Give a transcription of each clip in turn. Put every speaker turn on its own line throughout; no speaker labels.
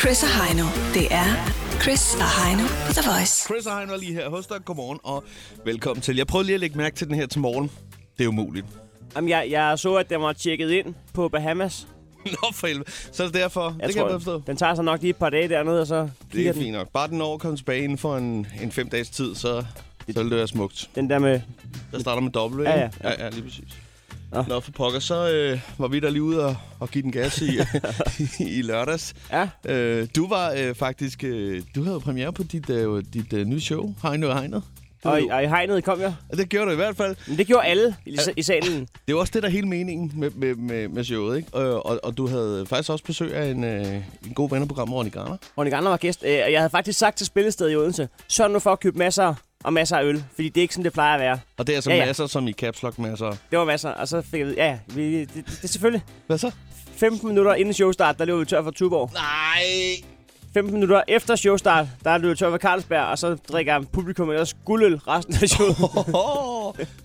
Chris og Heino. Det er Chris og Heino på The Voice.
Chris og Heino er lige her hos dig. Godmorgen og velkommen til. Jeg prøvede lige at lægge mærke til den her til morgen. Det er umuligt.
Jamen, jeg, jeg så, at den var tjekket ind på Bahamas.
Nå for helvede. Så er det derfor.
Jeg
det kan jeg godt forstå.
den tager sig nok lige et par dage dernede, og så
Det
kigger
er
den.
fint nok. Bare den når at komme tilbage inden for en, en fem dages tid, så, så vil det være smukt.
Den der med...
Der starter med dobbelt,
Ja,
ikke?
ja,
ja. ja lige præcis.
Nå.
Nå, for pokker, så øh, var vi der lige ude og, og give den gas i, i lørdags.
Ja,
Øh, du var øh, faktisk... Øh, du havde premiere på dit, øh, dit øh, nye show, Heino og Hegnet.
og, og i hegnet kom jeg.
Det gjorde du i hvert fald.
Men det gjorde alle i, i salen.
Det er jo også det, der er hele meningen med, med, med, med showet, ikke? Og, og, og du havde faktisk også besøg af en, øh, en god ven af programmet, Ronny Garner.
Ronny Garner var gæst, øh, og jeg havde faktisk sagt til spillestedet i Odense, sørg nu for at købe masser og masser af øl, fordi det er ikke sådan, det plejer at være.
Og det er altså
Ja,
ja,
ja.
ja. masser, som i caps lock masser.
Det var masser, og så fik jeg at vide, ja, vi, det, det, det, er selvfølgelig.
Hvad så?
15 minutter inden showstart, der løb vi tør for Tuborg.
Nej!
15 minutter efter showstart, der løb vi tør for Carlsberg, og så drikker publikum ellers guldøl resten af showet.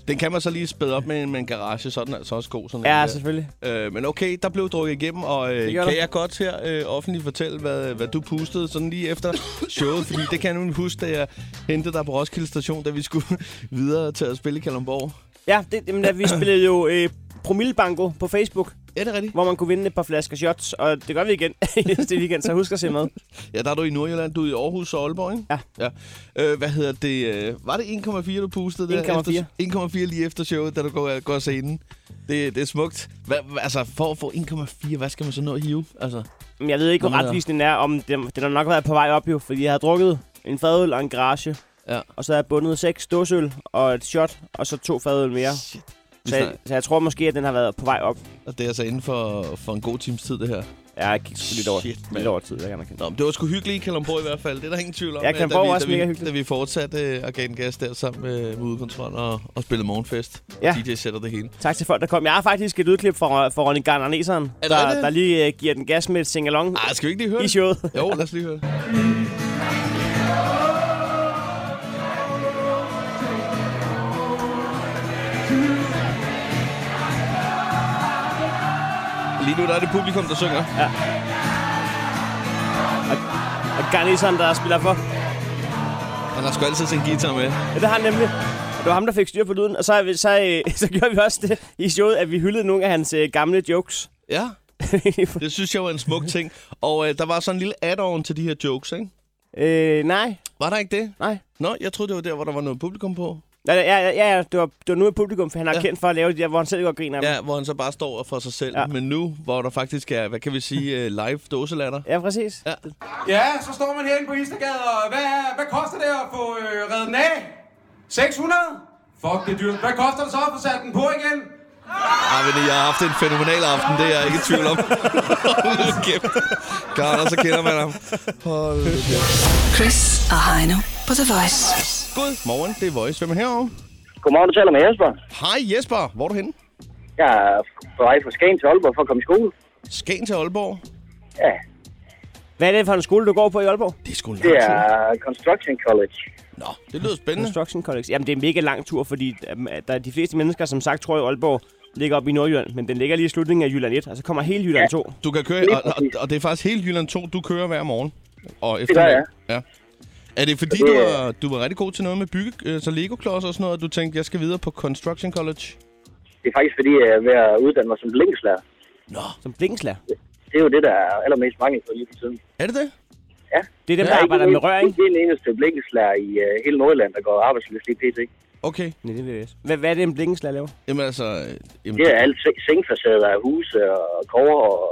Den kan man så lige spæde op med, en- med en garage, så er den altså også god. Sådan en
ja,
der.
selvfølgelig.
øh, men okay, der blev drukket igennem, og øh,
Det
kan
gjorde der.
jeg godt her øh, offentligt fortælle, hvad, hvad du pustede sådan lige efter showet? Fordi det kan jeg nemlig huske, da jeg hentede dig på Roskilde Station, da vi skulle videre til at spille i Kalundborg.
Ja, det, jamen, da vi spillede jo øh, promillebanko på Facebook,
Er det rigtigt?
hvor man kunne vinde et par flasker shots, og det gør vi igen i næste weekend, så husk at se med.
Ja, der er du i Nordjylland, du er i Aarhus og Aalborg, ikke?
Ja.
ja. Øh, hvad hedder det? Øh, var det 1,4, du pustede der?
1,4.
efter- 1,4 lige efter showet, da du går, går scenen. Det, det er smukt. Hva, altså, for at få 1,4, hvad skal man så nå at hive? Altså,
Men jeg ved ikke,
Nå,
hvor
men ja.
retvisende den er, om den, den har nok været på vej op jo, fordi jeg havde drukket en fadøl og en garage,
ja.
og så havde jeg bundet seks dåsøl og et shot, og så to fadøl mere.
Shit.
Så jeg, så jeg tror måske, at den har været på vej op.
Og det er altså inden for, for en god times tid, det her.
Ja, jeg gik sgu lidt over,
Shit, mand.
lidt over tid, jeg kan anerkende.
Nå, men det var sgu hyggeligt i Kalundborg i hvert fald. Det er der ingen tvivl om.
Ja,
øh, da
Kalundborg
vi-
var også
da vi,
mega hyggeligt.
Da vi fortsatte øh, og gav den gas der sammen øh, med, med udekontrol og, og spillede morgenfest.
Ja.
DJ sætter det hele.
Tak til folk, der kom. Jeg har faktisk et udklip fra, fra Ronny Garnerneseren,
Er der
der,
det?
der lige øh, giver den gas med et singalong
Ej, skal vi ikke lige høre
i
det?
showet.
Jo, lad os lige høre det. Lige nu der er det publikum, der synger.
Og Garneseren, der spiller for.
Han har sgu altid sin guitar med.
Ja, det har han nemlig. Det var ham, der fik styr på lyden, og så, så, så, øh, så gjorde vi også det i showet, at vi hyldede nogle af hans øh, gamle jokes.
Ja, det synes jeg var en smuk ting. Og øh, der var sådan en lille add-on til de her jokes, ikke?
øh, nej,
Var der ikke det?
nej.
Nå, jeg troede, det var der, hvor der var noget publikum på.
Ja, ja, ja, ja det, var, det var nu med publikum, for han er
Ja.
ja. kendt for at lave det der, hvor han selv går og griner. af dem.
Ja, hvor han så bare står for sig selv. Ja.
Ja.
Men nu, hvor der faktisk er, hvad kan vi sige, øh, live dåselatter.
ja præcis.
Ja.
Ja, så står man herinde på Istergade, og hvad, hvad koster det at få øh, reddet den af? 600? Fuck, det er dyrt. Hvad koster det så at få sat den på igen?
Ej, men jeg har haft en fænomenal aften, det er jeg ikke i tvivl om. Hold kæft. Klart, og så kender man ham. Hold da kæft.
Chris og Heino på The Voice.
God morgen, det er Voice. Hvem er herovre?
Godmorgen, du taler med Jesper.
Hej Jesper, hvor er du henne?
Jeg er på vej fra Skagen til Aalborg for at komme i skole.
Skagen til Aalborg.
Ja,
Hvad er det for en skole, du går på i Aalborg?
Det er sgu en lang
det
tur.
er Construction College.
Nå, det lyder spændende.
Construction College. Jamen, det er en mega lang tur, fordi øhm, at der er de fleste mennesker, som sagt, tror i Aalborg ligger op i Nordjylland, men den ligger lige i slutningen af Jylland 1, og så kommer hele Jylland 2.
Du kan køre, og, og, og det er faktisk hele Jylland 2, du kører hver morgen. Og
gør jeg.
Ja. Er det fordi,
Og
du
det er-
var, du var rigtig god til noget med bygge, øh, så Lego-klodser og sådan noget, at du tænkte, jeg skal videre på Construction College?
Det er faktisk fordi, jeg er ved at uddanne mig som blinkslærer.
Som blinkenslærer.
Det er jo det, der er allermest mangel på lige for tiden.
Er det det?
Det er dem,
Der
der
er
arbejder
en-
med rør, ikke?
Ikke en eneste blinkslærer i øh, hele Nordjylland, der går arbejdsløs lige pt.
Okay.
Nej, det vil jeg ikke. Hvad, hvad er det, en blinkenslærer laver?
Jamen altså... øh, Jamen,
Det er alt se- sengfacader af huse og kover og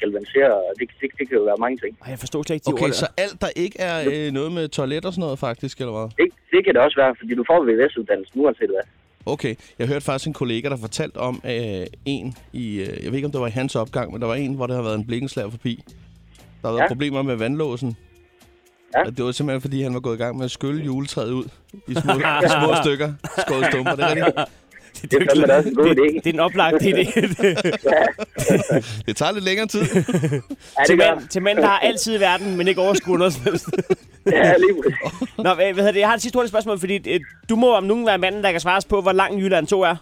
galvanisere. og Det, det, det kan jo være mange ting.
Ej, jeg forstår slet ikke de ord,
Okay,
der.
så alt, der ikke er øh, noget med toilet og sådan noget, faktisk, eller hvad?
Det, det kan det også være, fordi du får VVS-uddannelsen uanset hvad.
Okay, jeg hørte faktisk en kollega, der fortalte om øh, en i... Øh, jeg ved ikke, om det var i hans opgang, men der var en, hvor der har været en blikkenslager forbi. Der har været
Ja.
problemer med vandlåsen.
Ja.
Og det var simpelthen, fordi han var gået i gang med at skylle juletræet ud i små, i små stykker. Skåret stumper, det er rigtigt.
Det er fandme da også en god idé.
Det er en oplagt idé.
Det tager lidt længere tid.
Ja, det
til,
gør.
mænd, til mænd, der har altid i verden, men ikke overskuer noget som helst.
Ja, lige præcis.
Nå, hvad, hvad hedder det? Jeg har et sidste hurtigt spørgsmål, fordi øh, du må om nogen være manden, der kan svares på, hvor lang Jylland 2 er.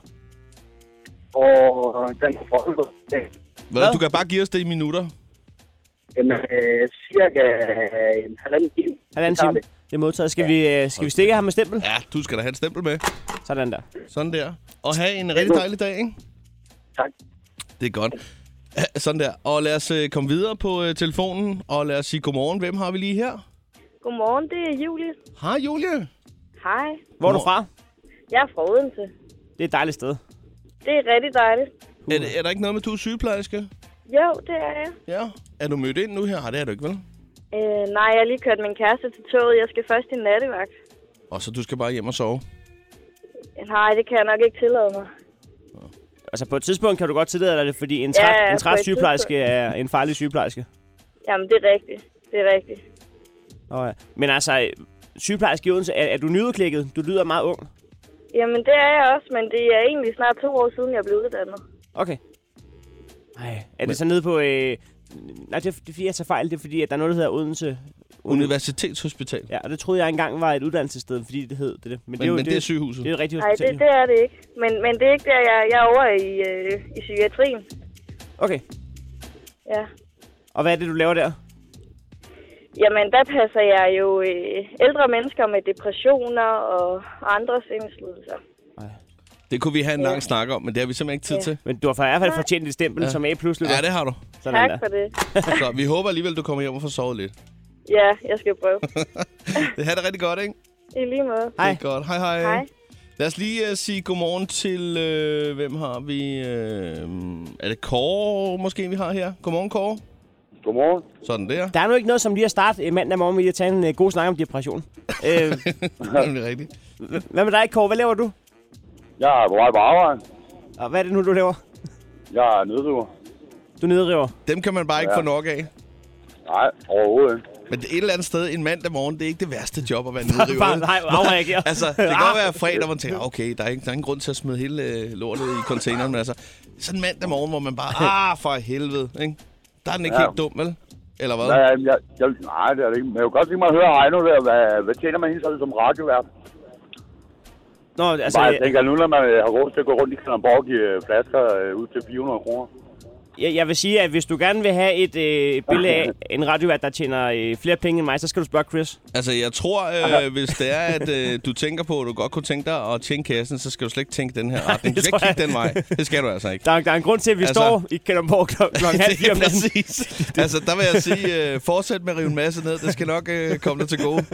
Og øh, den får
Hvad? Du kan bare give os det i minutter.
Jamen, øh, cirka øh, en halvanden time.
Halvanden
Det tager
time.
det.
Det er modtaget. Skal vi, øh, skal vi stikke ham med stempel?
Ja, du skal da have et stempel med.
Sådan der.
Sådan der. Og have en rigtig dejlig dag, ikke?
Tak.
Det er godt. Ja, Sådan der. Og lad os øh, komme videre på øh, telefonen, og lad os sige godmorgen. Hvem har vi lige her?
Godmorgen, det er Julie.
Hej, Julie.
Hej.
Hvor er du
Hvor-
fra?
Jeg er fra Odense.
Det er et dejligt sted.
Det er rigtig dejligt.
Er, det- er der ikke noget med, at du er sygeplejerske?
Jo, det er jeg.
Ja. Er du mødt ind nu her? Nej, det er du ikke, vel?
Øh, nej, jeg har lige kørt min kæreste til toget. Jeg skal først i nattevagt.
Og så du skal bare hjem og sove.
Nej, det kan jeg nok ikke tillade mig.
Altså på et tidspunkt kan du godt tillade dig det, fordi en træt,
Ja,
en
på
træt
et
sygeplejerske er en farlig sygeplejerske.
Jamen, det er rigtigt. Det er rigtigt.
Og, øh, men altså, øh, sygeplejerske i Odense, er, er du nyudklækket? Du lyder meget ung.
Jamen, det er jeg også, men det er egentlig snart to år siden, jeg blev uddannet.
Okay. Nej, er det så nede på... Øh... Nej, det er, det er fordi, jeg tager fejl. Det er fordi, at der er noget, der hedder Odense.
Universitetshospital.
Ja, og det troede jeg engang var et uddannelsessted, fordi det hed det. det. Men,
Men, men det er sygehuset.
Det er et rigtigt
Nej, det,
hospital.
det er det ikke. Men, men det er ikke der, jeg, jeg er over i, øh, i psykiatrien.
Okay,
Ja.
og hvad er det, du laver der?
Jamen, der passer jeg jo øh, ældre mennesker med depressioner og andres indslidelser.
Det kunne vi have en lang snak om, men det har vi simpelthen ikke tid
Ja.
til.
Men du har for i hvert fald fortjent et stempel, ja. som A+, plus
Ja, det har du.
Sådan
Tak
der.
for det.
Så vi håber alligevel, du kommer hjem og får sovet lidt.
Ja, jeg skal prøve.
Det har det rigtig godt, ikke?
I lige måde.
Hej.
Det er godt. Hej, hej.
Hej.
Lad os lige uh, sige godmorgen til... Uh, hvem har vi? Uh, er det Kåre, måske, vi har her? Godmorgen, Kåre.
Godmorgen.
Sådan der.
Der er nu ikke noget som lige at starte øh, mandag morgen med lige at tage en øh, god snak om depression. øh,
Det er rigtigt.
hvad med dig, Kåre? Hvad laver du?
Jeg er på vej på arbejde.
Og hvad er det nu, du laver?
Jeg er nødsuger.
Du nedriver.
Dem kan man bare ikke ja.
Ja.
få nok af.
Nej, overhovedet ikke.
Men et eller andet sted en mandag morgen, det er ikke det værste job at være nedriver.
Bare nej, afreagerer.
Altså, det kan godt være fredag, hvor man tænker, okay, der er, ikke, der er ingen grund til at smide hele øh, lortet i containeren, men altså, sådan en mandag morgen, hvor man bare, ah, for helvede, ikke? Der er den ikke ja.
Ja.
helt dum, vel? Eller hvad?
Ja, ja, jeg, jeg, nej, det er det ikke. Men jeg kunne godt tænke mig at høre Heino der. Hvad, hvad tjener man egentlig sådan som radiovært?
Nå, altså,
Altså, Bare,
øh,
jeg tænker, nu når man øh, har råd til at gå rundt i Kalamborg og give øh, flasker øh, ud til 400 kroner.
Jeg, jeg vil sige, at hvis du gerne vil have et øh, billede af en radiovært, der tjener øh, flere penge end mig, så skal du spørge Chris.
Altså, jeg tror, øh, hvis det er, at øh, du tænker på, at du godt kunne tænke dig at tjene kassen, så skal du slet ikke tænke den her retning. Du
det
skal ikke
tror
kigge den
jeg.
vej. Det skal du altså ikke.
Der, er- der er en grund til, at vi
Altså-
altså, står i Kalundborg kl- klokken halv
Det
fire
er
om natten.
præcis. altså, der vil jeg sige, øh, fortsæt med at rive en masse ned. Det skal nok øh, komme dig til
Ja,
gode. Det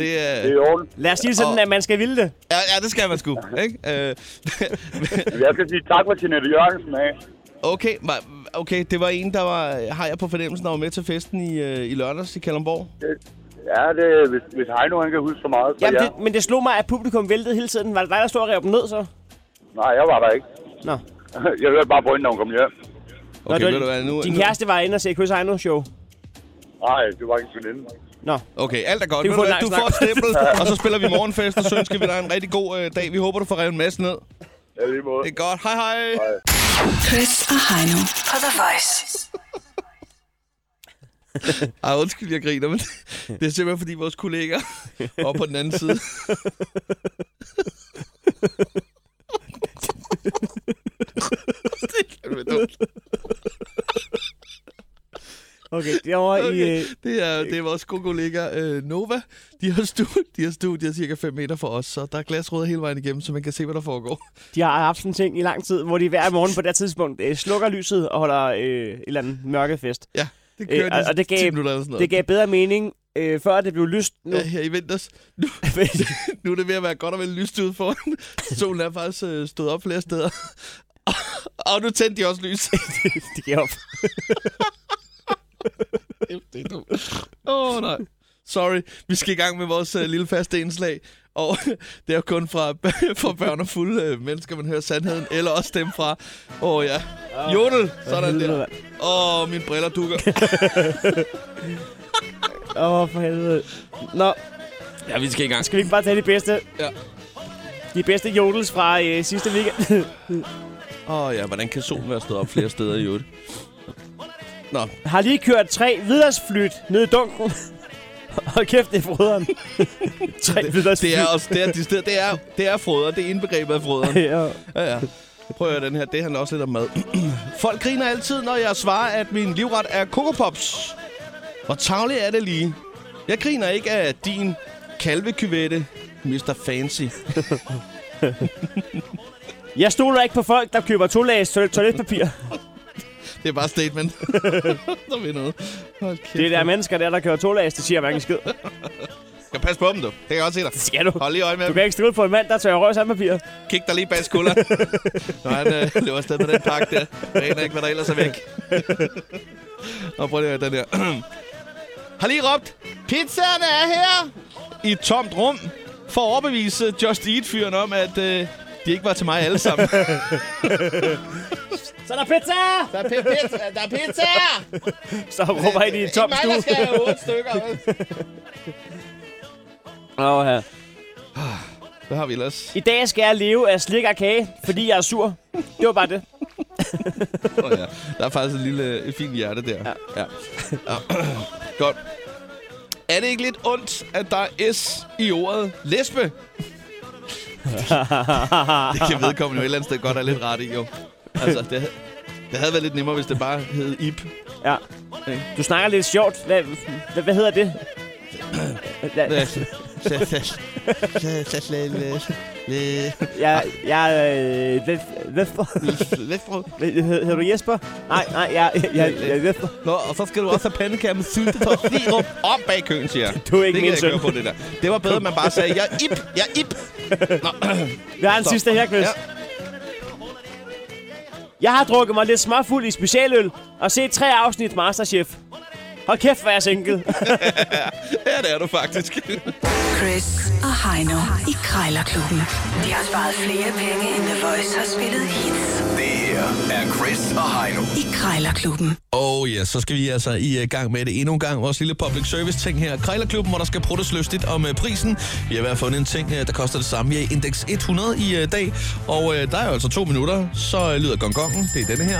det
er-
er, det er i orden.
Lad os sige det sådan,
Og-
at man skal ville det.
Ja, ja det skal man sgu, ikke? Øh,
Jeg skal sige tak for Jeanette Jørgensen af.
okay, ma- okay, det var en, der var, øh, har jeg på fornemmelsen, der var med til festen i, øh, i lørdags i Kalamborg.
Ja, det, hvis, hvis Heino han kan huske så meget, så
Jamen,
ja.
det, men det slog mig, at publikum væltede hele tiden. Var det dig, der stod og rev dem ned, så?
Nej, jeg var der ikke.
Nå.
Jeg hørte bare på hende, når hun kom hjem.
Okay,
Nå,
ved du hvad, nu,
din
nu,
kæreste var inde og se Chris Heino show.
Nej, det var ikke en veninde.
Nå,
Okay, alt er godt.
Det
Ved
er for
du, hvad, du
lang
får et
snak.
stempel, og så spiller vi morgenfest, og så ønsker vi dig en rigtig god øh, dag. Vi håber, du får revet en masse ned.
Ja, lige måde.
Det er godt. Hej hej.
Chris og Heino på The Voice.
Ej, undskyld, jeg griner, men det er simpelthen, fordi vores kolleger oppe på den anden side. det er fandme dumt.
okay. Det er over okay. i...
Okay.
Øh,
Det er, det er vores gode kollega øh, Nova. De har, stu- de har studier cirka 5 meter fra os, så der er glasruder hele vejen igennem, så man kan se, hvad der foregår.
de har haft sådan en ting i lang tid, hvor de hver morgen på det her tidspunkt øh, slukker lyset og holder øh, et eller andet mørkefest.
Ja, det kører
Øh,
øh,
og, og det
10
gav,
minutter eller sådan noget.
det gav bedre mening, øh, før det blev lyst. Nu,
Ja, her i vinters. Nu, nu er det ved at være godt at være lyst ud foran. Solen er faktisk øh, stået op flere steder. og nu tændte de også lys.
det giver op.
det er dumt. Åh, oh, nej. Sorry, vi skal i gang med vores øh, lille faste indslag. Og det er jo kun fra, fra børn og fulde øh, mennesker, man hører sandheden. Eller også dem fra... Åh oh, ja. Jodel. Sådan
helvede,
der.
mand.
Åh, oh, mine briller dukker.
Åh, oh, for helvede. Nå,
ja, vi skal i gang.
Skal vi ikke bare tage de bedste?
Ja.
De bedste jodels fra øh, sidste weekend.
Åh oh, ja, hvordan kan solen være stået op flere steder i øvrigt? Nå,
har lige kørt tre hvidløgsflyt ned i dunken. Hold kæft, det er frøderen. tre hvidløgsflyt. Altså,
Det er også, det er, det er, det er, det er frøder, det er indbegrebet af frøderen.
Ja.
Ja, ja. Prøv at høre den her. Det handler også lidt om mad. Folk griner altid, når jeg svarer, at min livret er Coco Pops. Hvor tavlig er det lige? Jeg griner ikke af din kalvekyvette, Mr. Fancy.
Jeg stoler ikke på folk, der køber to lag toiletpapir.
Det er bare statement. Der ved noget. Hold kæft.
Det er der mennesker der, der køber to lag, det siger hverken skid.
Skal passe på dem, du. Det kan jeg godt se dig.
Det skal du.
Hold lige øje med
Du
dem.
kan ikke stille på en mand, der tør røg sandpapir.
Kig dig lige bag skulderen. Når han øh, løber afsted med den pakke der. Jeg aner ikke, hvad der ellers er væk. Og prøv lige at høre den her. Har lige råbt, pizzaen er her! I et tomt rum. For at overbevise Just Eat-fyren om, at øh, de ikke var til mig alle sammen.
Så er der pizza!
Der er pizza! Der er pizza!
Så råber han i en tom stue.
have otte stykker.
Åh, ja.
Hvad har vi ellers?
I dag skal jeg leve af slik og kage, fordi jeg er sur. Det var bare det.
Oh, ja. Der er faktisk et lille et fint hjerte der. Ja. ja. Godt. Er det ikke lidt ondt, at der er S i ordet lesbe? det kan vedkommende jo et eller andet sted godt er lidt ret i, jo. Altså, det, havde- det havde været lidt nemmere, hvis det bare hed Ip.
Ja. Du snakker lidt sjovt. Hvad, hvad, hvad hedder det?
Ja. Lesbe.
Jeg, jeg, øh, hvad, hvad, hvad, hed- hedder du Jesper? Nej, nej, jeg, jeg, jeg, jeg Jesper.
Nå, og så skal du også have pandekager med syltetøj sirup om bag køen, siger jeg.
Du er ikke
det kan
min
jeg
søn.
køre på, det der. Det var bedre, at man bare sagde, jeg er ip, jeg er ip. Nå,
Vi har en
Så.
sidste her, Chris.
Ja.
Ja. Jeg har drukket mig lidt småfuld i specialøl og set tre afsnit Masterchef. Hold kæft, hvor er jeg single.
Ja, det er du faktisk.
Chris og Heino i Krejlerklubben. De har sparet flere penge, end The Voice har spillet hits
Det her er Chris og Heino.
i Krejlerklubben.
oh ja, så skal vi altså i øh, gang med det endnu en gang. Vores lille public service ting her. Krejlerklubben, hvor der skal pruttes lystigt om øh, prisen. Vi har i hvert fald fundet en ting, øh, der koster det samme. Vi er i indeks 100 i øh, dag. Og øh, der er jo altså to minutter. Så øh, lyder gongongen. Det er denne her.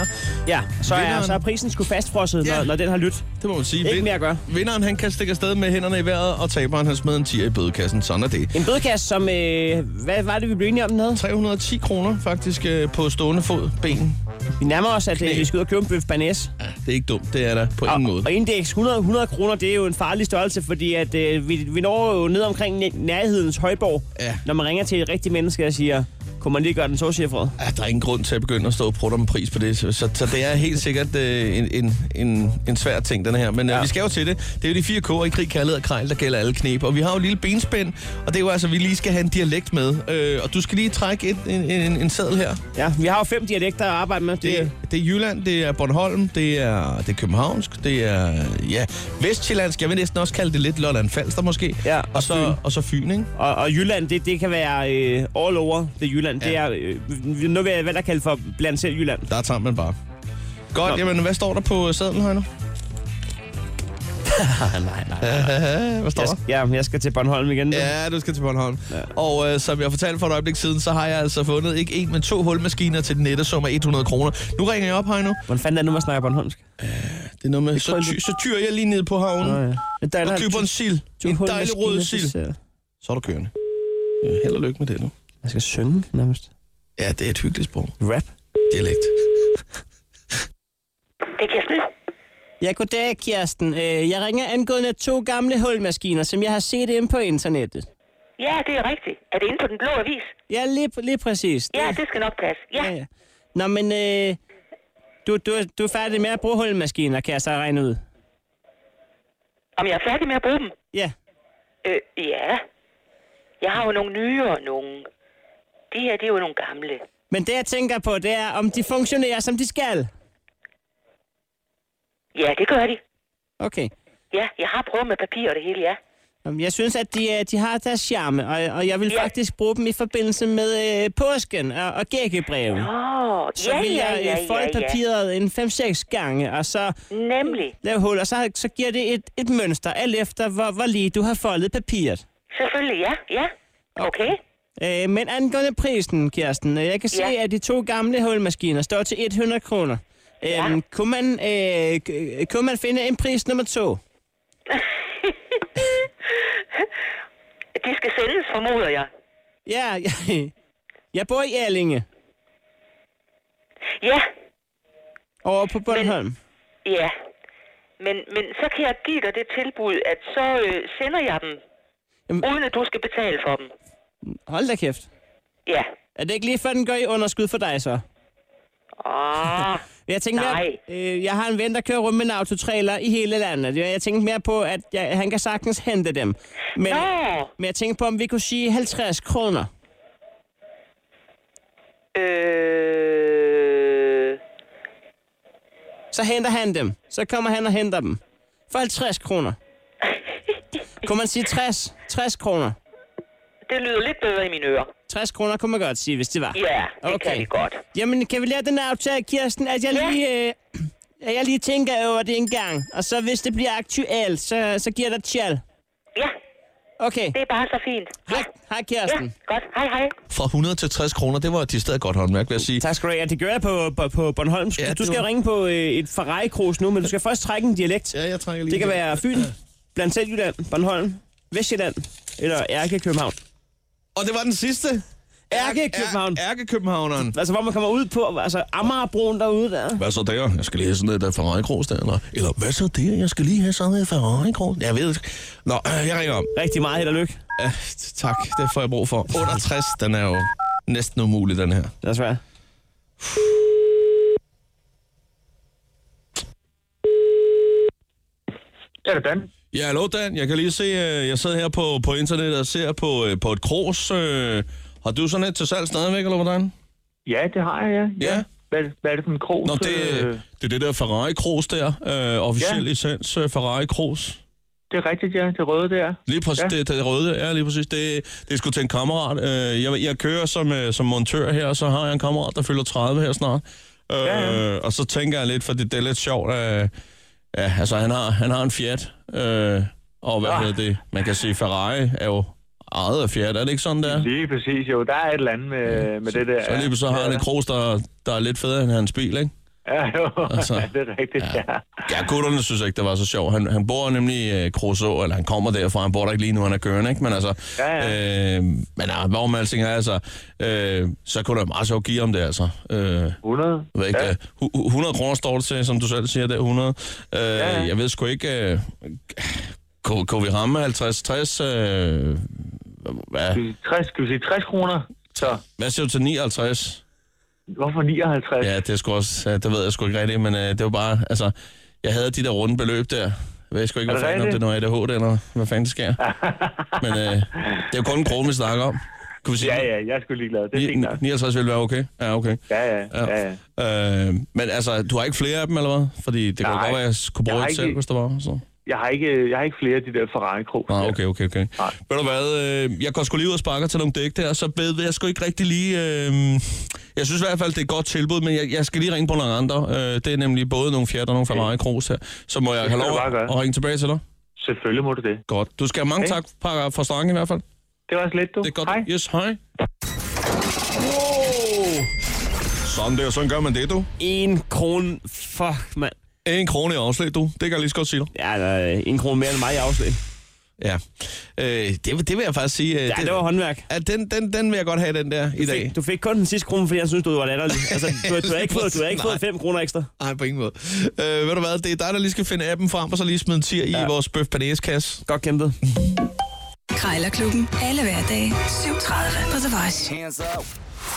ja, så er,
Vinderen.
så er prisen sgu fastfrosset,
Ja.
når, når den har lyttet.
Det må man sige.
Ikke
Vind-
mere at gøre.
Vinderen han kan stikke afsted med hænderne i vejret, og taberen han smed en tier i bødekassen. Sådan er det.
En bødekasse, som... Øh, hvad var det, vi blev enige om, den hed?
310 kroner faktisk øh, på stående fod, ben.
Vi nærmer os, at øh, vi skal ud og købe en bøf banæs.
Det er ikke dumt, det er der på
Og,
ingen måde.
og indeks 100, 100 kroner, det er jo en farlig størrelse, fordi at, øh, vi, vi når jo ned omkring næ- nærhedens højborg,
Ja.
når man ringer til et rigtigt menneske og siger, kunne man lige gøre den togchefred?
Ja, der er ingen grund til at begynde at stå og prutte om en pris på det, så, så, så det er helt sikkert øh, en, en, en, en svær ting, den her. Men ja. øh, vi skal jo til det. Det er jo de fire kår i krig, kærlighed og krejl, der gælder alle knep. Og vi har jo et lille benspænd, og det er jo altså, vi lige skal have en dialekt med. Øh, og du skal lige trække et, en, en, en sædel her.
Ja, vi har jo fem dialekter at arbejde med.
Det, er,
Det,
det er Jylland, det er Bornholm, det er, det er københavnsk, det er ja, vestjyllandsk. Jeg vil næsten også kalde det lidt Lolland Falster måske.
Ja,
og,
og
så, og så Fyn, ikke?
og, og Jylland, det, det kan være øh, all over det Jylland. Ja. Det er øh, noget, hvad- hvad der kaldes for blandt selv Jylland.
Der tager man bare. Godt,
Nå.
jamen hvad står der på øh, sædlen her nu?
Ah, nej, nej. nej.
Hvad står
Jeg,
der?
sk- ja, jeg skal til Bornholm igen. Ja.
Ja, du skal til Bornholm. Ja. Og øh, som jeg fortalte for et øjeblik siden, så har jeg altså fundet ikke en, men to hulmaskiner til den nette sum af 100 kroner. Nu ringer jeg op her nu.
Hvordan fanden er det nu, man snakker bornholmsk?
Det er noget med,
tror
så,
jeg
ty,
lidt.
så tyrer jeg lige ned på havnen
Nå, ja. Der
og køber en sild.
to- to
En
hul
dejlig
maskiner,
rød
det
sild.
ser-
Så er du kørende. Ja, held og lykke med det nu.
Man skal synge nærmest.
Ja, det er et hyggeligt sprog.
Rap.
Dialekt.
Ja, goddag, Kirsten. Øh, Jeg ringer angående to gamle hulmaskiner, som jeg har set inde på internettet.
Ja, det er rigtigt. Er det inde på den blå avis?
Ja, lige, lige præcis.
Ja, det skal nok passe. Ja,
Ja, ja. Nå, men øh, du, du, du er færdig med at bruge hulmaskiner, kan jeg så regne ud.
om jeg er færdig med at bruge dem?
Ja,
Øh, ja. Jeg har jo nogle nye og nogle... Det her, det er jo nogle gamle.
men det jeg tænker på, det er, om de funktionerer, som de skal.
Ja, det gør de.
Okay.
Ja, jeg har prøvet med papir og det hele, ja.
Jamen, Jeg synes, at de, øh, de har deres charme, og, og jeg vil
Ja.
faktisk bruge dem i forbindelse med øh, påsken og, og gækkebreven.
Åh,
Så
ja,
vil
ja,
jeg øh,
ja,
folde
ja, ja.
papiret en 5-6 gange, og så
Nemlig.
lave hul, og så, så giver det et, et mønster, alt efter hvor, hvor lige du har foldet papiret.
Selvfølgelig, ja, ja. Okay.
Øh, men angående prisen, Kirsten, øh, jeg kan se,
Ja.
at de to gamle hulmaskiner står til 100 kroner. Øh,
Ja.
kunne, man, øh, k- kunne man finde en pris nummer to?
De skal sendes, formoder jeg.
Ja, jeg, jeg bor i Erlinge.
Ja,
Over på Bornholm.
ja. Men, men så kan jeg give dig det tilbud, at så øh, sender jeg dem,
Jamen-
uden at du skal betale for dem.
Hold da kæft.
Ja.
Er det ikke lige før, den går i underskud for dig så?
Åh,
Jeg tænkte,
Nej.
At, øh, jeg har en ven, der kører rundt med en autotrailer i hele landet. Jeg jeg tænkte mere på, at jeg, han kan sagtens hente dem. Men,
nå.
men jeg tænkte på, om vi kunne sige 50 kroner.
Øh,
Så henter han dem. Så kommer han og henter dem. For 50 kroner. kunne man sige 60? 60 kroner.
det lyder lidt bedre i mine ører.
60 kroner kunne man godt sige, hvis det var.
Ja, det okay. kan vi godt.
Jamen, kan vi lave den her aftale, Kirsten, at jeg
Ja.
lige... Øh, at jeg lige tænker over det en gang, og så hvis det bliver aktuelt, så, så giver jeg dig tjal.
Ja,
Okay,
det er bare så fint.
hej, hej
Ja,
Kirsten.
godt. Hej, hej.
Fra 100 til 60 kroner, det var de stadig godt håndværk, vil jeg sige.
Tak skal du have. Ja, det gør jeg på, på, på Bornholm.
Ja,
Ja,
det
du skal
var-
var... ringe på øh, et Ferrari-krus nu, men du skal først trække en dialekt.
Ja, jeg trækker lige
Det kan
en.
være Fyn, blandt selv Jylland, Bornholm, Vestjylland eller Ærke København.
Og det var den sidste.
Ærke København.
Ærkekøbenhavneren.
Altså, hvor man kommer ud på, altså Amagerbroen derude der.
Hvad så der? Jeg skal lige have sådan noget der Ferrari-kros der, eller, eller hvad så der? Jeg skal lige have sådan noget Ferrari-kros. Jeg ved ikke. Nå, øh, jeg ringer om.
Rigtig meget held og lykke.
Ja, t- tak, det får jeg brug for. 68, den er jo næsten umulig, den her.
Det er svært.
Ja, det er Dan.
Ja, hallo Dan. Jeg kan lige se, øh, jeg sidder her på, på internettet og ser på, øh, på et kros. Øh, har du sådan et til salg stadigvæk, eller hvordan?
Ja, det har jeg, ja.
Ja.
Hvad, hvad er det for en krog?
Nå, det,
øh,
det er det der Ferrari-kros der. Øh, officiel ja.
Ja.
licens øh, Ferrari-kros.
det er rigtigt, ja. Det røde der.
Lige præcis, ja.
Ja.
det, det røde er lige præcis. Det, det er sgu til en kammerat. Øh, jeg, jeg kører som, øh, som montør her, og så har jeg en kammerat, der fylder 30 her snart. Øh, ja, ja. Og så tænker jeg lidt, for det, det er lidt sjovt. Øh, ja, altså han har, han har en Fiat, øh, og hvad hedder det? Man kan sige, Ferrari er jo ejet af Fiat, er det ikke sådan der?
Lige præcis, jo. Der er et eller andet med, ja. med det der.
Så lige så har han en kros, der, der er lidt federe end hans bil, ikke?
Ja, jo.
Altså.
Altså. Ja, det er rigtigt, ja. ja.
Ja, gutterne synes ikke, det var så sjovt. Han, han bor nemlig i øh, Kroså, eller han kommer derfra. Han bor der ikke lige nu, han er kørende, ikke? Men altså,
Ja,
Øh, men ja, hvor man tænker, altså, øh, så kunne der meget sjovt give om det, altså. Øh, jeg
100.
ved ikke, øh,
Ja.
ja. 100 kroner står det til, som du selv siger, det er 100. Øh, ja. Jeg ved sgu ikke, øh, kunne, kunne vi ramme 50-60, øh, hvad,
Skal vi sige 60, skal vi sige 60 kroner? Så
hvad siger du til 59?
hvorfor 59?
Ja, det er sgu også, ja, det ved jeg sgu ikke rigtigt, men øh, det var bare, altså, jeg havde de der runde beløb der. Jeg ved sgu ikke,
Er
hvad
det
fanden, om det er
rigtigt?
noget ADHD, eller hvad fanden det sker. men øh, det er jo kun en krone, vi snakker om. Kunne vi sige,
Ja, ja, jeg er sgu ligeglad. Det er fint nok.
ni- 59 ville være okay? Ja, okay.
Ja, ja, ja, ja.
Øh, men altså, du har ikke flere af dem, eller hvad? Fordi det kunne
Nej.
godt være, at jeg kunne
Jeg
bruge
har
et
ikke-
selv, hvis der var. Så.
Jeg har ikke, jeg har ikke flere af de der Ferrari-krog.
Nå, okay, okay, okay.
Nej.
Ved du hvad, øh, jeg går sgu lige ud og sparker til nogle dæk der, så ved ved jeg sgu ikke rigtig lige... Øh, jeg synes i hvert fald, det er et godt tilbud, men jeg, jeg skal lige ringe på nogle andre. Øh, det er nemlig både nogle fjerde og nogle Ferrari Cruz her. Så må jeg
Det
have
skal
lov
du bare gøre.
at ringe tilbage til dig.
Selvfølgelig må du det.
Godt. Du skal have mange
Okay.
tak for, for snakken i hvert fald.
Det var også lidt, du.
Det er godt.
Hej.
Yes, hej. Wow. Sådan der, sådan gør man det, du.
En krone. Fuck, mand.
En krone i afslag, du. Det kan jeg lige så godt sige dig.
Ja, der er en krone mere end mig i afslag.
Ja. Øh, det, det vil jeg faktisk sige. øh,
Ja, det var håndværk.
at den, den, den vil jeg godt have, den der i dag.
Du fik kun den sidste krone, fordi jeg synes, du var latterlig. Altså, du, du, har ikke fået, du har ikke fået
Nej.
5 kroner ekstra.
Nej, på ingen måde. Øh, ved du hvad, det er dig, der lige skal finde appen frem, og så lige smide en tier ja. i vores bøf kasse.
Godt kæmpet.
Krejlerklubben. Alle hverdage 7.30 på The Voice.
Hands up.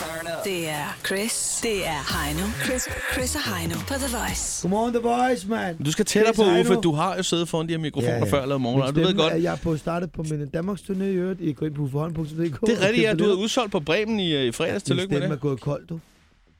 Turn up.
Det er Chris. Det er Heino. Chris, Chris og Heino på The Voice.
Godmorgen, The Voice, mand.
Du skal tættere
Chris
på,
Heino.
Uffe. Du har jo siddet foran de her mikrofoner ja, ja. før og lavet morgen.
Min
og Du ved
stemme
godt,
er- Jeg er på startet på min Danmarks turné i øvrigt. I går ind på uforhånd.dk.
det er rigtigt, ja. Du havde udsolgt på Bremen i, øh, i fredags. Tillykke med
Den er
det.
gået kold, du.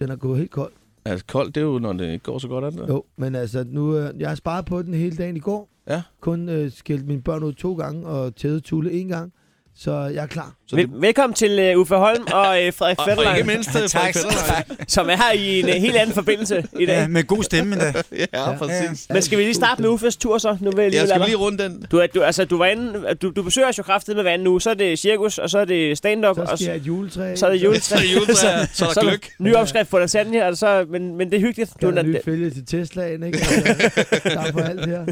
Den er gået helt kold.
Altså, koldt, det er jo, når det ikke går så godt, er det der?
Jo, men altså, nu, øh, jeg har sparet på den hele dagen i går.
Ja.
Kun øh, skældt mine børn ud to gange og tædet Tule en gang. Så jeg er klar.
Så det,
Vel- velkommen til uh, Uffe Holm og uh, Frederik
og, og ikke
Fetterlein,
mindst øh, Frederik Fetterlein.
som er her i en uh, helt anden forbindelse i dag.
Ja, med god stemme endda.
Ja, præcis.
Men skal vi lige starte med Uffes tur så? Nu vil jeg lige lade
Jeg skal
dig.
lige runde den.
Du, er- du, altså, du, var inde, du, du besøger os jo kraftigt med vand nu. Så er det cirkus, og så er det stand-up,
Så
og
skal jeg
så,
have et juletræ.
så er det
Så
juletræ.
er juletræer, så er der gløk.
ny opskrift på lasagne, og så, men, men det er hyggeligt. Du,
Du er
men,
nye fælge til Teslaen, ikke? Altså, der er for alt her.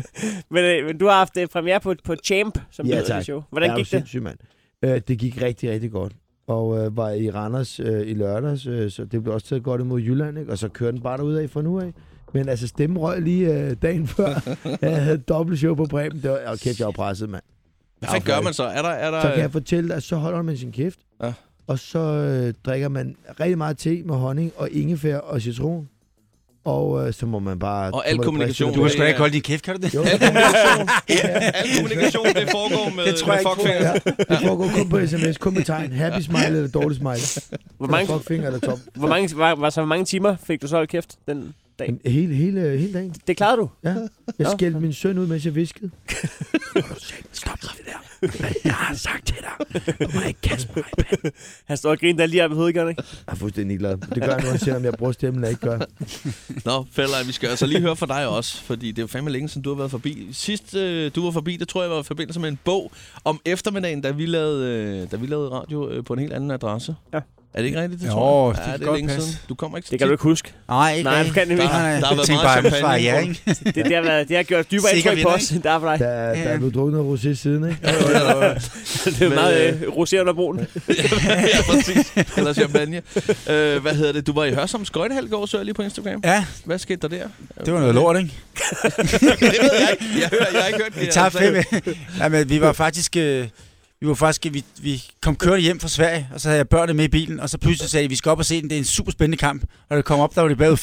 øh, men du har haft øh, premiere på, på Champ, som
Ja,
det hedder
tak.
det show. Hvordan
jeg er jo
gik det?
sindssyg, mand. Øh, det gik rigtig, rigtig godt. og øh, var i Randers øh, i lørdags, øh, så det blev også taget godt imod Jylland, ikke? og så kørte den bare derudad af fra nu af. Men altså, stemmen røg lige øh, dagen før. jeg havde dobbelt show på Bremen. Det var, og kæft, jeg var presset, mand.
Hvad fanden gør man så? Er der... Er der
Så kan jeg fortælle dig, at så holder man sin kæft,
Ja.
og så øh, drikker man rigtig meget te med honning og ingefær og citron. Og øh, så må man bare...
Og
så
al
må det
kommunikation,
briste.
Du har sgu da ikke holdt
din kæft, kan du det?
Jo,
Al kommunikation, det foregår med,
Det tror jeg ikke
med
på.
fuckfinger.
det foregår kun på sms, kun med tegn. Happy smile eller dårlig smile.
Hvor
Eller
mange-
fuck finger eller top.
Hvor mange, var, var, så hvor mange timer fik du så holdt kæft den dag?
Men Hele, hele, hele dagen.
Det klarede du?
Ja. Jeg
Nå.
skældte min søn ud, mens jeg viskede. Stop det der. Hvad jeg har sagt til dig. Du må ikke kaste mig.
Han står og griner der lige op i hovedet, gør han ikke?
Jeg er fuldstændig ligeglad. Det gør jeg nu, også, selvom jeg bruger stemmen, eller ikke gør.
Nå, fælder, vi skal altså lige høre fra dig også, fordi det er jo fandme længe siden, du har været forbi. Sidst øh, du var forbi, det tror jeg var i forbindelse med en bog om eftermiddagen, da vi lavede, øh, da vi lavede radio øh, på en helt anden adresse.
Ja.
Er det ikke rigtigt, det
Jo,
tror jeg?
det
ja,
kan
det er
godt
længe
passe.
siden. Du kommer ikke så
Det kan du
tit.
ikke huske.
Nej, ikke
Nej,
rigtig.
du kan nemlig ikke.
Der,
Der har været
tænk
meget
bare,
champagne
svarer
i
ja,
bunden.
ikke?
Det, det, har, været, det har gjort dybere
Sikker
indtryk på
vinder,
os, end der er for dig.
Der, der er blevet drukket noget rosé siden, ikke?
Det er meget øh, rosé under broen.
ja, præcis. Eller champagne. Øh, hvad hedder det? Du var i Hørsholm Skøjtehal i går, så jeg lige på Instagram.
Ja,
Hvad skete der der?
det var noget lort, ikke?
det ved jeg ikke. Jeg, hører, jeg har ikke hørt det.
Vi tager
opslag.
fem. Jamen, vi var faktisk... Øh, vi var faktisk, vi, vi kom kørende hjem fra Sverige, og så havde jeg børnene med i bilen, og så pludselig sagde de, vi skal op og se den, det er en super spændende kamp. Og det kom op, der var det bagud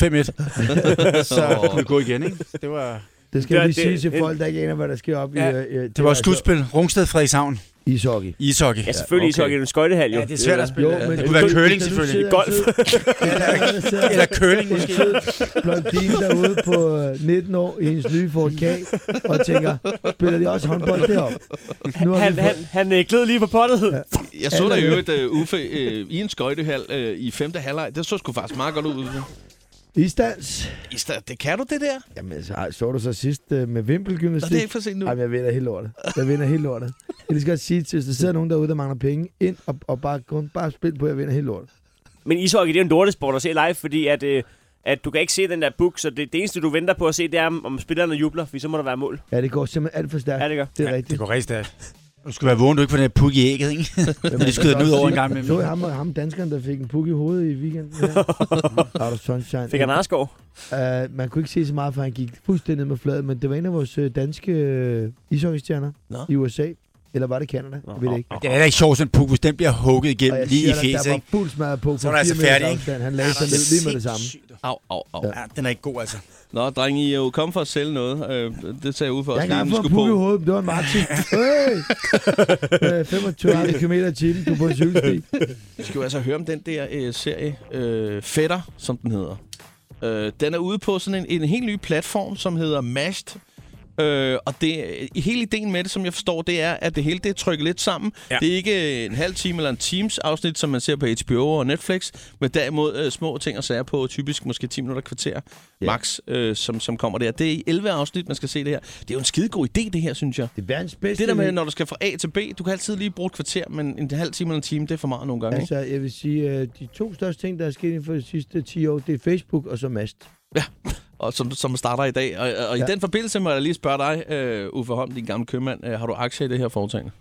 5-1. så kunne vi gå igen, ikke? Det var,
Det skal jeg
Det-
lige sige
det-
til folk, der ikke aner, hvad der sker op
Ja,
i... øh, øh,
det var et slutspil. Rungsted, Frederikshavn,
Ishockey. Altså,
ishockey.
Ja, selvfølgelig okay.
okay.
ishockey i en skøjtehal, jo.
Ja, det er svært at spille.
Jo,
øh,
men
det kunne være curling,
hvis du
selvfølgelig.
sidder-
Golf.
Eller,
Eller curling, måske.
blondine derude på øh, 19 år i hendes nye Ford K, og tænker, spiller de også håndbold deroppe? Nu har
Han,
vi
han,
fået-
han øh, gled lige på pottet. Ja.
Jeg så dig i øvrigt, uh, Uffe, uh, i en skøjtehal uh, i femte halvleg. Det så sgu faktisk meget godt ud. Uffe.
Isdans.
Ista, det kan du, det der? Nå,
Jamen, så, ej, så du så sidst øh, med
det er
vimpelgymnastik?
ikke for sent nu.
Jamen, jeg vinder helt lortet. Jeg vinder helt lortet. Jeg vil lige så godt sige, til, hvis der sidder nogen derude, der mangler penge, ind og, og bare, kun, bare spil på, at jeg vinder helt lortet.
Men ishockey, det er jo en lortesport at se live, fordi at, øh, at du kan ikke se den der book, så det, det eneste, du venter på at se, det er, om om spillerne jubler, for så må der være mål.
Ja, det går simpelthen alt for stærkt.
Ja, det gør.
Det er
Ja,
rigtigt.
Det går rigtig stærkt. Du skal være vågen, du ikke får den her puk i ægget, ikke? Når de skyder den ud over en gang med
Så jeg ham, ham danskeren, der fik en puk i hovedet i weekenden. Her. Out of sunshine.
Fik han Arsgaard?
Uh, man kunne ikke se så meget, for han gik fuldstændig ned med fladet, men det var en af vores øh, danske øh, ishockeystjerner
Nå.
i USA. Eller var det Canada? Jeg ved det ikke.
Det er heller ikke sjovt, sådan en puk, hvis den bliver hugget
Og
igennem
jeg
lige i
siger dig,
fjeset,
der var
ikke?
fuld smadret på
Så er
fra
der altså
4 meters
færdig, ikke?
afstand. Han lagde sig ned lige med det samme.
Au, au, au. Ja.
Ja, den er ikke god, altså.
Nå, drenge, I er jo kommet for at sælge noget. Øh, det sagde Uffe
Jeg har
også,
engang
inden vi
fået en
skulle
puk i
på.
hovedet, men det var en Martin. Hey! Øh, 25 km i timen, du er på en cykelsti.
Vi skal jo altså høre om den der øh, serie, øh, Fætter, som den hedder. Øh, den er ude på sådan en, en helt ny platform, som hedder Mashed. Øh, og det, hele ideen med det, som jeg forstår, det er, at det hele det er trykket lidt sammen. Ja. Det er ikke øh, en halv time eller en times afsnit, som man ser på HBO og Netflix, men derimod øh, små ting og sager på, typisk måske 10 minutter kvarter yeah. max, øh, som, som kommer der. Det er i 11 afsnit, man skal se det her. Det er jo en skidegod idé, det her, synes jeg.
Det er verdens bedste.
Det der med, når du skal fra A til B, du kan altid lige bruge et kvarter, men en halv time eller en time, det er for meget nogle gange. ikke?
Altså, jeg vil sige, øh, de to største ting, der er sket inden for de sidste 10 år, det er Facebook og så Mast.
og som, som starter i dag. Og, og
Ja.
ja. i den forbindelse må jeg da lige spørge dig, øh, Uffe Holm, din gamle købmand. Øh, har du aktier i det her foretagende?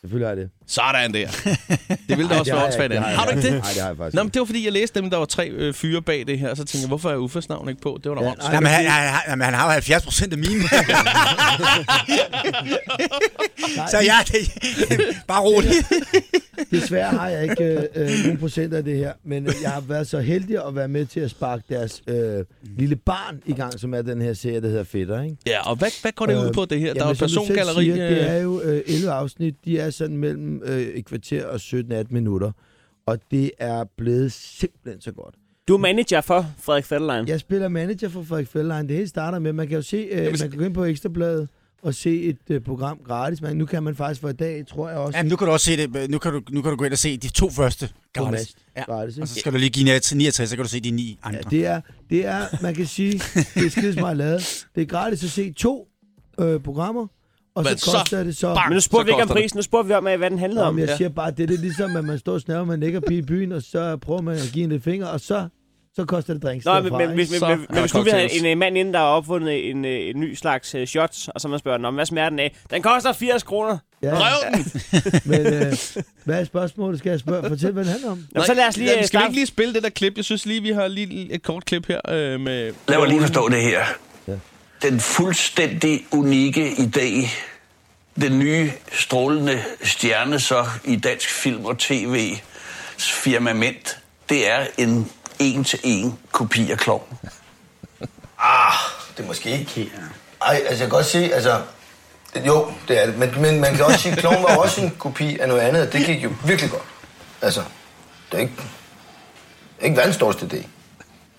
Selvfølgelig er det.
Sådan der. Det ville da også
det har
være
jeg
åndssvagt
ikke. Det
andet.
har jeg
Har du ikke
ikke.
det?
Nej, det har jeg faktisk
Nå, men det var fordi, jeg læste dem, der var tre øh, fyre bag det her, og så tænkte jeg, hvorfor er Uffes navn ikke på? Det var da
Ja,
ja,
nej.
Jamen, han, han, han, jamen, han har jo 70 procent af mine. så ja, det, bare rolig.
Desværre har jeg ikke øh, øh, nogen procent af det her, men øh, jeg har været så heldig at være med til at sparke deres øh, lille barn i gang, som er den her serie, der hedder Fætter, ikke?
ja, og hvad, hvad går det ud på, det her? der er jo
Øh, som du selv
persongalleri.
Siger, det
øh,
er jo øh, 11 afsnit, de er sådan mellem øh, et kvarter og 17-18 minutter, og det er blevet simpelthen så godt.
Du er manager for Frederik Fetterlein. Ja.
Jeg spiller manager for Frederik Fællein. Det hele starter med, man kan jo se, øh, man kan gå ind på Ekstrabladet og se et øh, program gratis, men nu kan man faktisk for i dag, tror jeg også,
Jamen, nu kan du også se det. Nu kan du, nu kan du gå ind og se de to første
på
gratis.
Mast
Ja.
gratis.
Og
Ikke?
så skal du lige give 69, så kan du se de ni andre.
Ja, det er, det er, man kan sige, det er skide meget lavet. Det er gratis at se to øh, programmer, og
Men
så
så
koster det så...
bang!
Men nu spurgte
Så
vi ikke om
koster det.
prisen, nu spurgte vi om, øh, hvad den handlede om.
Om jeg siger bare, det er lidt ligesom, at man står og snæver med en lækkerpige i byen, og så prøver man at give en lidt finger, og så, så koster det drinks
Nå, men,
derfra,
men,
ikke?
hvis, men,
Så
men,
er
men
der
hvis du vil have
cocktails.
en øh, mand inden, der har opfundet en, øh, en ny slags øh, shots, og så man spørger, Nå, men hvad smager den af? Den koster 80 kroner.
Ja.
Røv den!
Men øh, hvad er spørgsmålet? Skal jeg spørge? Fortæl, hvad det handler om.
Nej, jamen,
øh,
Skal vi ikke lige spille det der klip? Jeg synes lige, vi har lige et kort klip her øh, med...
Lad mig lige forstå det her. Den fuldstændig unikke idé, den nye strålende stjerne så i dansk film og tv firmament, det er en en-til-en kopi af klovn.
Ah, det er måske ikke helt. Ej, altså jeg kan godt se, altså... Jo, det er det. Men, men man kan også sige, at Kloven var også en kopi af noget andet. og Det gik jo virkelig godt. Altså, det er ikke... Ikke verdens dårligste idé.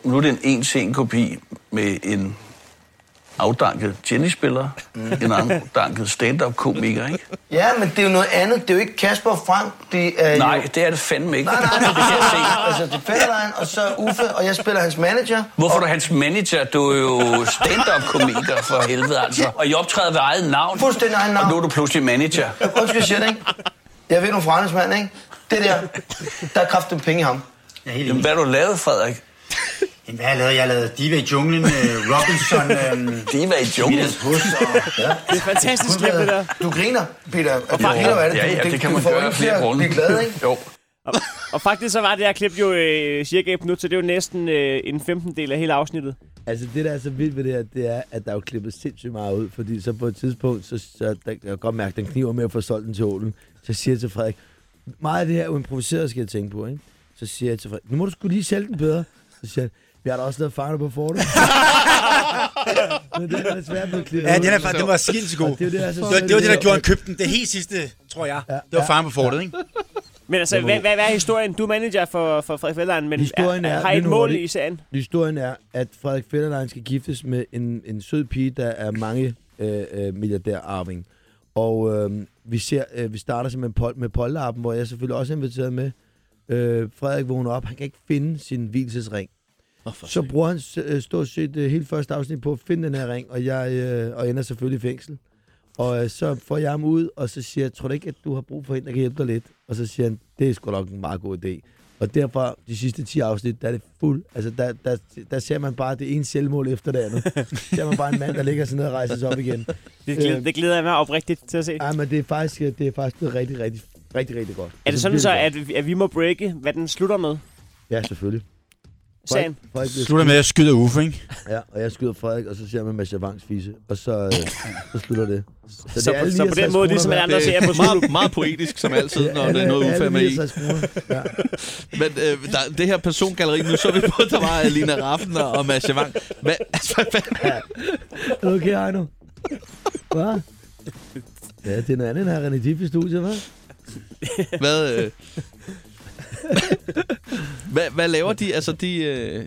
Nu er det en en-til-en kopi med en afdanket tennisspiller, en afdanket stand-up-komiker, ikke?
Mm. Ja, men det er jo noget andet. Det er jo ikke Kasper og Frank. Det er
Nej,
jo...
det er det fandme ikke.
Nej, nej, nej,
det kan jeg se.
Altså, det er Fetterlein, og så Uffe, og jeg spiller hans manager.
Hvorfor er du hans manager? Du er jo stand-up-komiker for helvede, altså. Og I optræder ved eget navn.
Fuldstændig egen navn.
Og nu er du pludselig manager.
Undskyld, jeg siger det, ikke? Jeg ved nu fra mand, ikke? Det der, der er kraften penge i ham.
Jamen, hvad har du lavet, Frederik?
Jamen, hvad har jeg lavet? Jeg har lavet Diva i junglen, øh, Robinson... Øh,
Diva i junglen?
Hus, og, ja.
Det er fantastisk klip, Altså, det der. Du griner, Peter. Du griner af det.
Ja, ja, det kan man gøre af flere grunde.
Det er glad, ikke?
Jo.
Og, og faktisk så var det her klip jo øh, cirka et minut, så det er jo næsten øh, en femtendel af hele afsnittet.
Altså, det, der er så vildt ved det her, det er, at der er jo klippet sindssygt meget ud, fordi så på et tidspunkt, så, så der, jeg kan godt mærke, at den kniver med at få solgt den til ålen. Så siger jeg til Frederik, meget af det her er jo improviseret, skal jeg tænke på, ikke? Så siger jeg til Frederik, nu må du skulle lige sælge den bedre. Så siger han, vi har da også lavet farne på fortet. Men det er desværre blevet klippet
Ja,
ud.
den, er, fa- den var sindssygt god.
Og
Det,
Det, er jo det,
det,
altså,
var, det, var det, der gjorde, han købte den. Det helt sidste, tror jeg. Det var farme på fortet, ikke?
Men altså,
Jeg må-
hvad, hvad, hvad er historien? Du er manager for, for Frederik Fælderen,
øh,
men
Historien er,
har I et
lidt
mål
hurtigt.
i serien?
Historien er, at Frederik Fetterlein skal giftes med en, en sød pige, der er mange øh, øh, milliardærarving. Og øh, vi, ser, øh, vi starter simpelthen pol- med polterappen, hvor jeg selvfølgelig også er inviteret med. Øh, Frederik vågner op, han kan ikke finde sin hvilesesring. Så bruger han s- øh, stort set øh, hele første afsnit på at finde den her ring, og jeg øh, og ender selvfølgelig i fængsel. Og øh, så får jeg ham ud, og så siger jeg, tror du ikke, at du har brug for en, der kan hjælpe dig lidt? Og så siger han, det er sgu nok en meget god idé. Og derfor, de sidste 10 afsnit, der er det fuld. Altså, der, der, der ser man bare det ene selvmål efter det andet. der ser man bare en mand, der ligger sådan ned og rejser sig op igen.
Det glæder, det glæder jeg mig oprigtigt til at se.
Ja, Øh, men det er faktisk, øh, det er faktisk blevet rigtig, rigtig, rigtig, rigtig godt. Altså,
Er det sådan så,
virkelig
at, vi- at vi må breake, hvad den slutter med?
godt. Ja, selvfølgelig.
Sagen.
Frederik- Frederik bliver
Slutter med, at jeg
skudt.
skyder Uffe, ikke?
Ja, og jeg skyder Frederik, og så ser man Masha Vangs fise, og så, øh, så slutter det.
Så på- så på den måde, ligesom alle andre serier på
Det er meget, meget poetisk, som altid, når det er noget Uffe er med i. Men øh, der, det her persongalleri, nu så vi på, der var Alina Raffen og og Mads Javang. Hvad, altså, hvad,
Er du okay, Heino? Hvad? Ja, det er noget andet end her René Diff i studiet, hva'?
hvad, øh, hvad, hvad laver de? Altså, de, øh,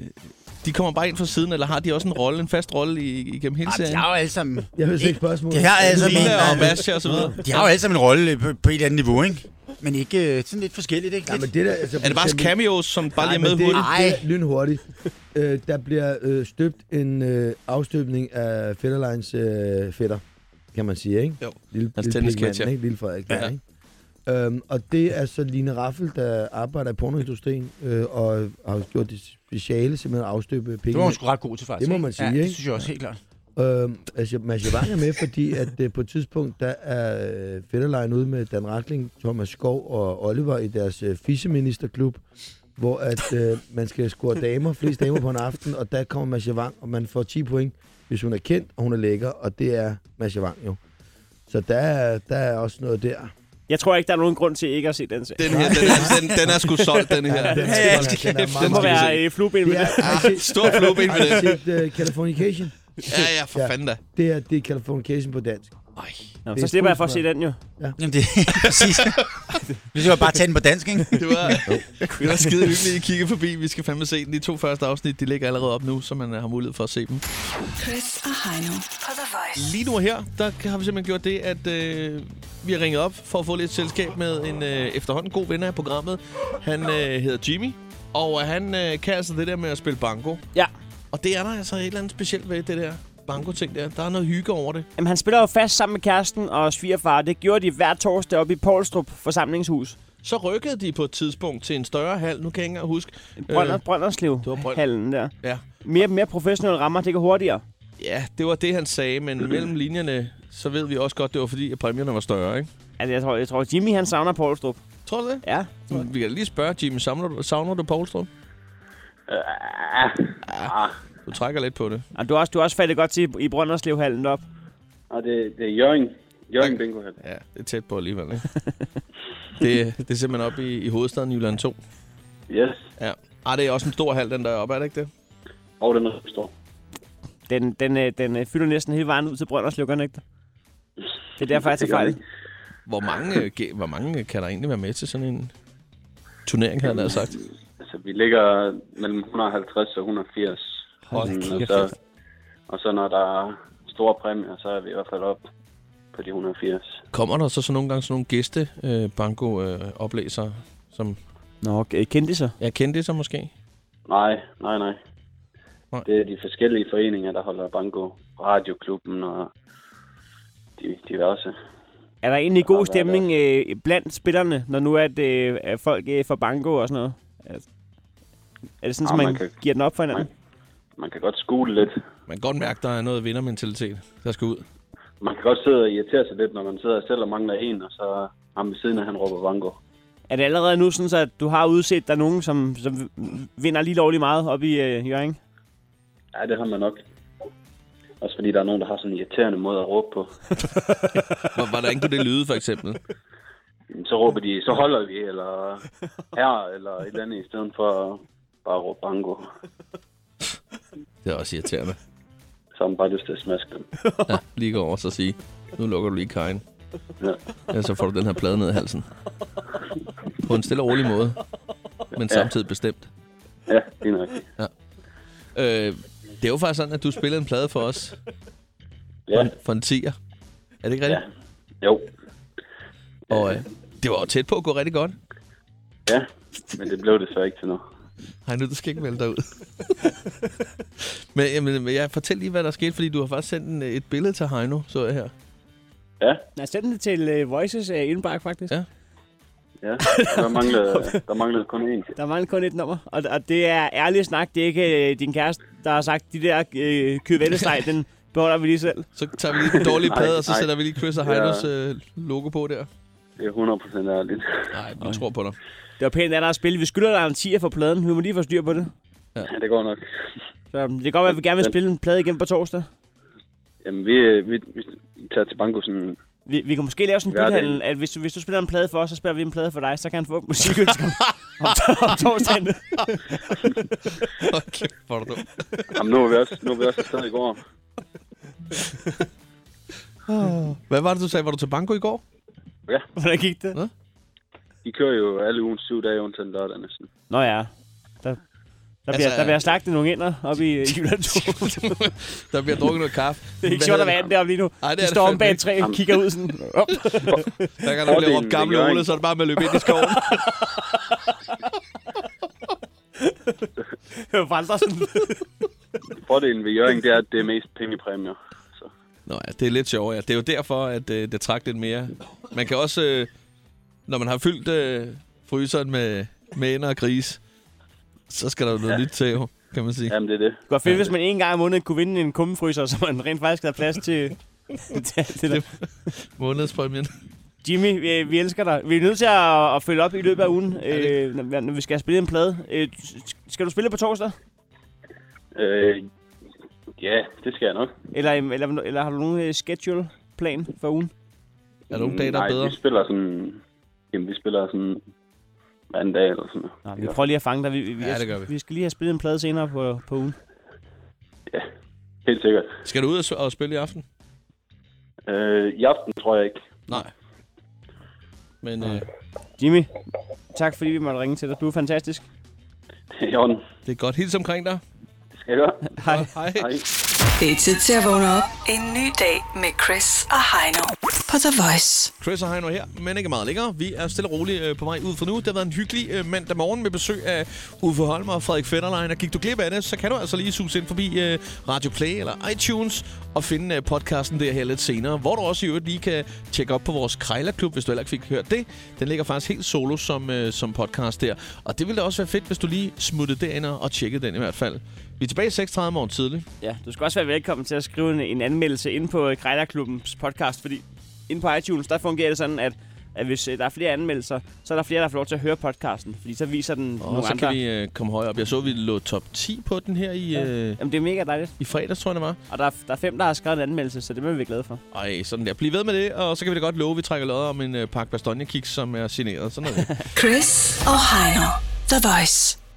de kommer bare ind fra siden, eller har de også en rolle, en fast rolle i, igennem hele serien?
de har jo alle sammen...
Jeg hører ikke spørgsmål.
De har alle sammen...
Lina
en-
og Masha og så videre.
De har jo alle sammen en rolle på, på et eller andet niveau, ikke? Men ikke øh, sådan lidt forskelligt, ikke?
Ja, men det der, altså,
Er det bare cameos, som bare lige er med
men det,
hurtigt?
Nej, det er lynhurtigt. Øh, der bliver øh, støbt en øh, afstøbning af Fetterleins øh, fætter, kan man sige, ikke?
Jo.
Lille,
Hans
lille
tennisketcher.
pigmanden, ikke? Lille Frederik,
Ja.
ja. ikke? Øhm, og det er så Line Raffel, der arbejder i pornoindustrien, øh, og har gjort det speciale, simpelthen at afstøbe penge.
Det var hun sgu ret god til, faktisk.
Det må
ikke?
man sige,
ja,
ikke?
det synes jeg også helt klart.
Øhm, altså, Mads Javang er med, fordi at øh, på et tidspunkt, der er øh, Fetterlein ude med Dan Rackling, Thomas Skov og Oliver i deres øh, fiseministerklub, hvor at øh, man skal score damer, flest damer på en aften, og der kommer Mads Javang, og man får 10 point, hvis hun er kendt, og hun er lækker, og det er Mads Javang jo. Så der, er- der er også noget der.
Jeg tror ikke, der er nogen grund til ikke at se den serie.
Den her, den er, den, den er sgu solgt, den her.
Ja, den er-
Hold
den er
kæft,
meget-
Det må
skal vi
være
se.
øh, flueben ved
Ja,
det.
har I set-
Stor flueben ved
Har I
det.
set uh, Californication?
Ja, ja, for fanden da.
Det er, det er Californication på dansk. Ej.
Nå, så slipper jeg for at se den jo.
Ja.
Jamen, det er præcis. Vi skal jo bare tage den på dansk, ikke?
Det var, det var skide hyggeligt, I kiggede forbi. Vi skal fandme se den. De to første afsnit, de ligger allerede op nu, så man øh, har mulighed for at se dem.
Chris og Heino på The Voice.
Lige nu og her, der har vi simpelthen gjort det, at øh, vi har ringet op for at få lidt selskab med en øh, efterhånden god ven af programmet. Han øh, hedder Jimmy, og øh, han øh, kan altså det der med at spille banko.
Ja.
Og det er der altså et eller andet specielt ved det der banko-ting der. Der er noget hygge over det.
Jamen, han spiller jo fast sammen med kæresten og svigerfar. Det gjorde de hver torsdag oppe i Poulstrup forsamlingshus.
Så rykkede de på et tidspunkt til en større hal. Nu kan jeg ikke engang huske.
Brønder, øh, Brønderslev,
Brøn-
hallen der.
Ja.
Mere, mere professionelle rammer, det går hurtigere.
Ja, det var det, han sagde, men mellem linjerne, så ved vi også godt, det var fordi, at præmierne var større, ikke?
Altså, jeg tror, jeg tror Jimmy han savner Poulstrup.
Tror du det?
Ja.
Vi kan lige spørge, Jimmy, savner du, savner du Poulstrup? Øh,
Ja.
Du trækker lidt på det.
Og du har også, du har også faldet godt til i- i Brønderslevhallen op.
Og det, det er Jørgen. Jørgen Bingo.
Ja, det er tæt på alligevel, ikke? det, det er simpelthen oppe i, i hovedstaden Jylland 2.
Yes.
Ja. Ej, det er også en stor hal, den der er oppe, er det ikke det?
Og den er stor.
Den, den, øh, den øh, fylder næsten hele vejen ud til Brønderslev, gør den ikke det? Det er derfor, jeg
Det
tager
gør den
fejl.
ikke. Hvor mange, øh, ge- hvor mange øh, kan der egentlig være med til sådan en turnering, havde jeg nær sagt?
Altså, vi ligger mellem 150 og 180.
Hold
Sådan,
kæft.
og, så, og så når der er store præmier, så er vi i hvert fald op på de 180.
Kommer der så, så nogle gange sådan nogle gæste øh, banko øh, oplæsere som...
Nå, kendte sig?
Ja, kendte sig måske.
Nej, nej, nej. Det er de forskellige foreninger, der holder banko. Radioklubben og de, diverse.
Er der egentlig
der
god
er der.
stemning øh, blandt spillerne, når nu at, øh, at folk øh, får banko og sådan noget? Altså, er det
Ja,
sådan, at man,
Ah, man
man
kan-
giver den op for hinanden?
Man kan godt skule lidt.
Man kan godt mærke, der er noget vindermentalitet, der skal ud.
Man kan godt sidde og irritere sig lidt, når man sidder selv og mangler en, og så ham ved siden af, han råber banko.
Er det allerede nu sådan, så at du har udset dig nogen, som, som vinder lige lovlig meget op i øh, Jørgen?
Ja, det har man nok. Også fordi der er nogen, der har sådan en irriterende måde at råbe på.
Hvor- Hvordan kunne det lyde, for eksempel?
Jamen, Så råber de, så holder vi, eller her, eller et eller andet, i stedet for bare at råbe bango.
Det er også irriterende.
Så har man bare lyst til at smaske dem.
Ja, lige gå over og så sige, nu lukker du lige kajen.
Ja.
Ellers så får du den her plade ned i halsen. På en stille og rolig måde, men
Ja.
samtidig bestemt.
Ja, det er nok.
Ja. Øh, det er jo faktisk sådan, at du spillede en plade for os. For,
Ja.
en, for en tiger. Er det ikke rigtigt?
Jo.
Og øh, det var jo tæt på at gå rigtig godt.
Ja, men det blev det så ikke til noget.
Hej nu, du skal ikke melde dig ud. men jamen, men jeg fortæl lige, hvad der skete, fordi du har faktisk sendt en, et billede til Heino, så jeg her.
Ja,
Nej, send den til øh, Voices øh, indbakke, faktisk.
Ja.
ja. Der manglede, der manglede kun én.
Der mangler kun et nummer, og, og det er ærligt snak. Det er ikke øh, din kæreste, der har sagt, de der øh, køvællestreg, den beholder vi lige selv.
Så tager vi lige den dårlige
Nej,
plade, og så
nej.
sætter vi lige Chris og
Ja.
Heinos øh, logo på der.
Det er 100% ærligt.
Nej, vi tror på dig.
Det var pænt af dig at spille. Vi skylder dig en 10'er for pladen. Vi må lige få styr på det.
Ja, det går nok.
Så øhm, det kan godt være, at vi gerne vil spille en plade igen på torsdag.
Jamen, vi, vi, vi tager til banko sådan...
Vi, vi kan måske lave sådan en
Hverdagen.
byttehandel, at hvis du, hvis du spiller en plade for os, så spiller vi en plade for dig, så kan han få musikønsker om, om torsdagen.
Hold kæft, hvor er du dum.
Jamen, nu er vi også, nu er vi også afsted i går.
Hvad var det, du sagde? Var du til banko i går?
Ja.
Hvordan gik det? Nå,
I kører jo alle ugen syv dage, undtagen lørdag næsten.
Nå ja. Der, der, altså, bliver,
Altså,
der bliver slagtet nogle ender op i øh, Jylland 2.
Der bliver drukket noget kaffe.
Det er ikke sjovt at være anden deroppe lige nu.
Ej, det
Ej,
er
det
det
de står om
fandme
bag et
ikke.
træ og
Jamen.
kigger ud sådan. Op.
Der kan der
Fordelen
blive
ved
råbt gamle
Hjørring-
Ole, så er det bare med at løbe ind i skoven.
Jeg vandrer sådan.
Fordelen ved Jørgen, det er, at det er mest pengepræmier. Så.
Nå ja, det er lidt sjovt, ja. Det er jo derfor, at øh, det trak lidt mere. Man kan også, øh, når man har fyldt øh, fryseren med, med ender og gris, så skal der jo noget nyt til, jo, kan man sige.
Jamen, det er det.
Det var fedt, hvis man en gang om måneden kunne vinde en kummefryser, så man rent faktisk havde plads til, til alt det der.
Månedspræmien.
Jimmy, vi, vi elsker dig. Vi er nødt til at, at følge op i løbet af ugen, øh, når, når vi skal spille en plade. Øh, s- skal du spille på torsdag?
Øh, ja, det skal jeg nok.
Eller, øhm, eller, eller har du nogen øh, schedule-plan for ugen?
Er der nogle dage, der er
Nej,
bedre?
vi spiller sådan... Jamen, vi spiller sådan... hver anden dag eller sådan noget.
Nå, vi prøver lige at fange dig. Vi, vi,
Ja, det gør vi.
Vi skal lige have spillet en plade senere på, på ugen.
Helt sikkert.
Skal du ud og, s- og spille i aften?
Øh, I aften tror jeg ikke.
Nej. Men øh,
Jimmy, tak fordi vi måtte ringe til dig. Du er fantastisk.
Det er i orden.
det er godt. Hils omkring dig.
Det skal jeg gøre.
Hej.
Hej.
Det er tid til at vågne op. En ny dag med Chris og Heino på The Voice.
Chris og Heino her, men ikke meget længere. Vi er stille og roligt øh, på vej ud fra nu. Det har været en hyggelig øh, mandag morgen med besøg af Uffe Holmer og Frederik Fetterlein. Og gik du glip af det, så kan du altså lige suse ind forbi øh, Radio Play eller iTunes og finde øh, podcasten der her lidt senere. Hvor du også i øvrigt lige kan tjekke op på vores Krejlerklub, hvis du heller ikke fik hørt det. Den ligger faktisk helt solo som, øh, som podcast der. Og det ville da også være fedt, hvis du lige smuttede derind og og tjekkede den i hvert fald. Vi er tilbage 6.30 morgen tidligt.
Ja, du skal også være velkommen til at øh, skrive en, en anmeldelse ind på Krejlerklubbens podcast, fordi inde på iTunes, der fungerer det sådan, at at hvis øh, der er flere anmeldelser, så er der flere, der får lov til at høre podcasten. Fordi så viser den
Og
nogle
så
andre.
kan vi øh, komme højere op. Jeg så, vi lå top 10 på den her i...
Ja.
Øh,
Jamen, det er mega dejligt.
I fredags, tror jeg, det var.
Og der er, der er fem, der har skrevet en anmeldelse, så det er vi glade for.
Ej, sådan der. Bliv ved med det, og så kan vi da godt love, at vi trækker lod om en øh, pakke bastogne kiks som er signeret. Sådan noget.
Chris og Heino. The Voice.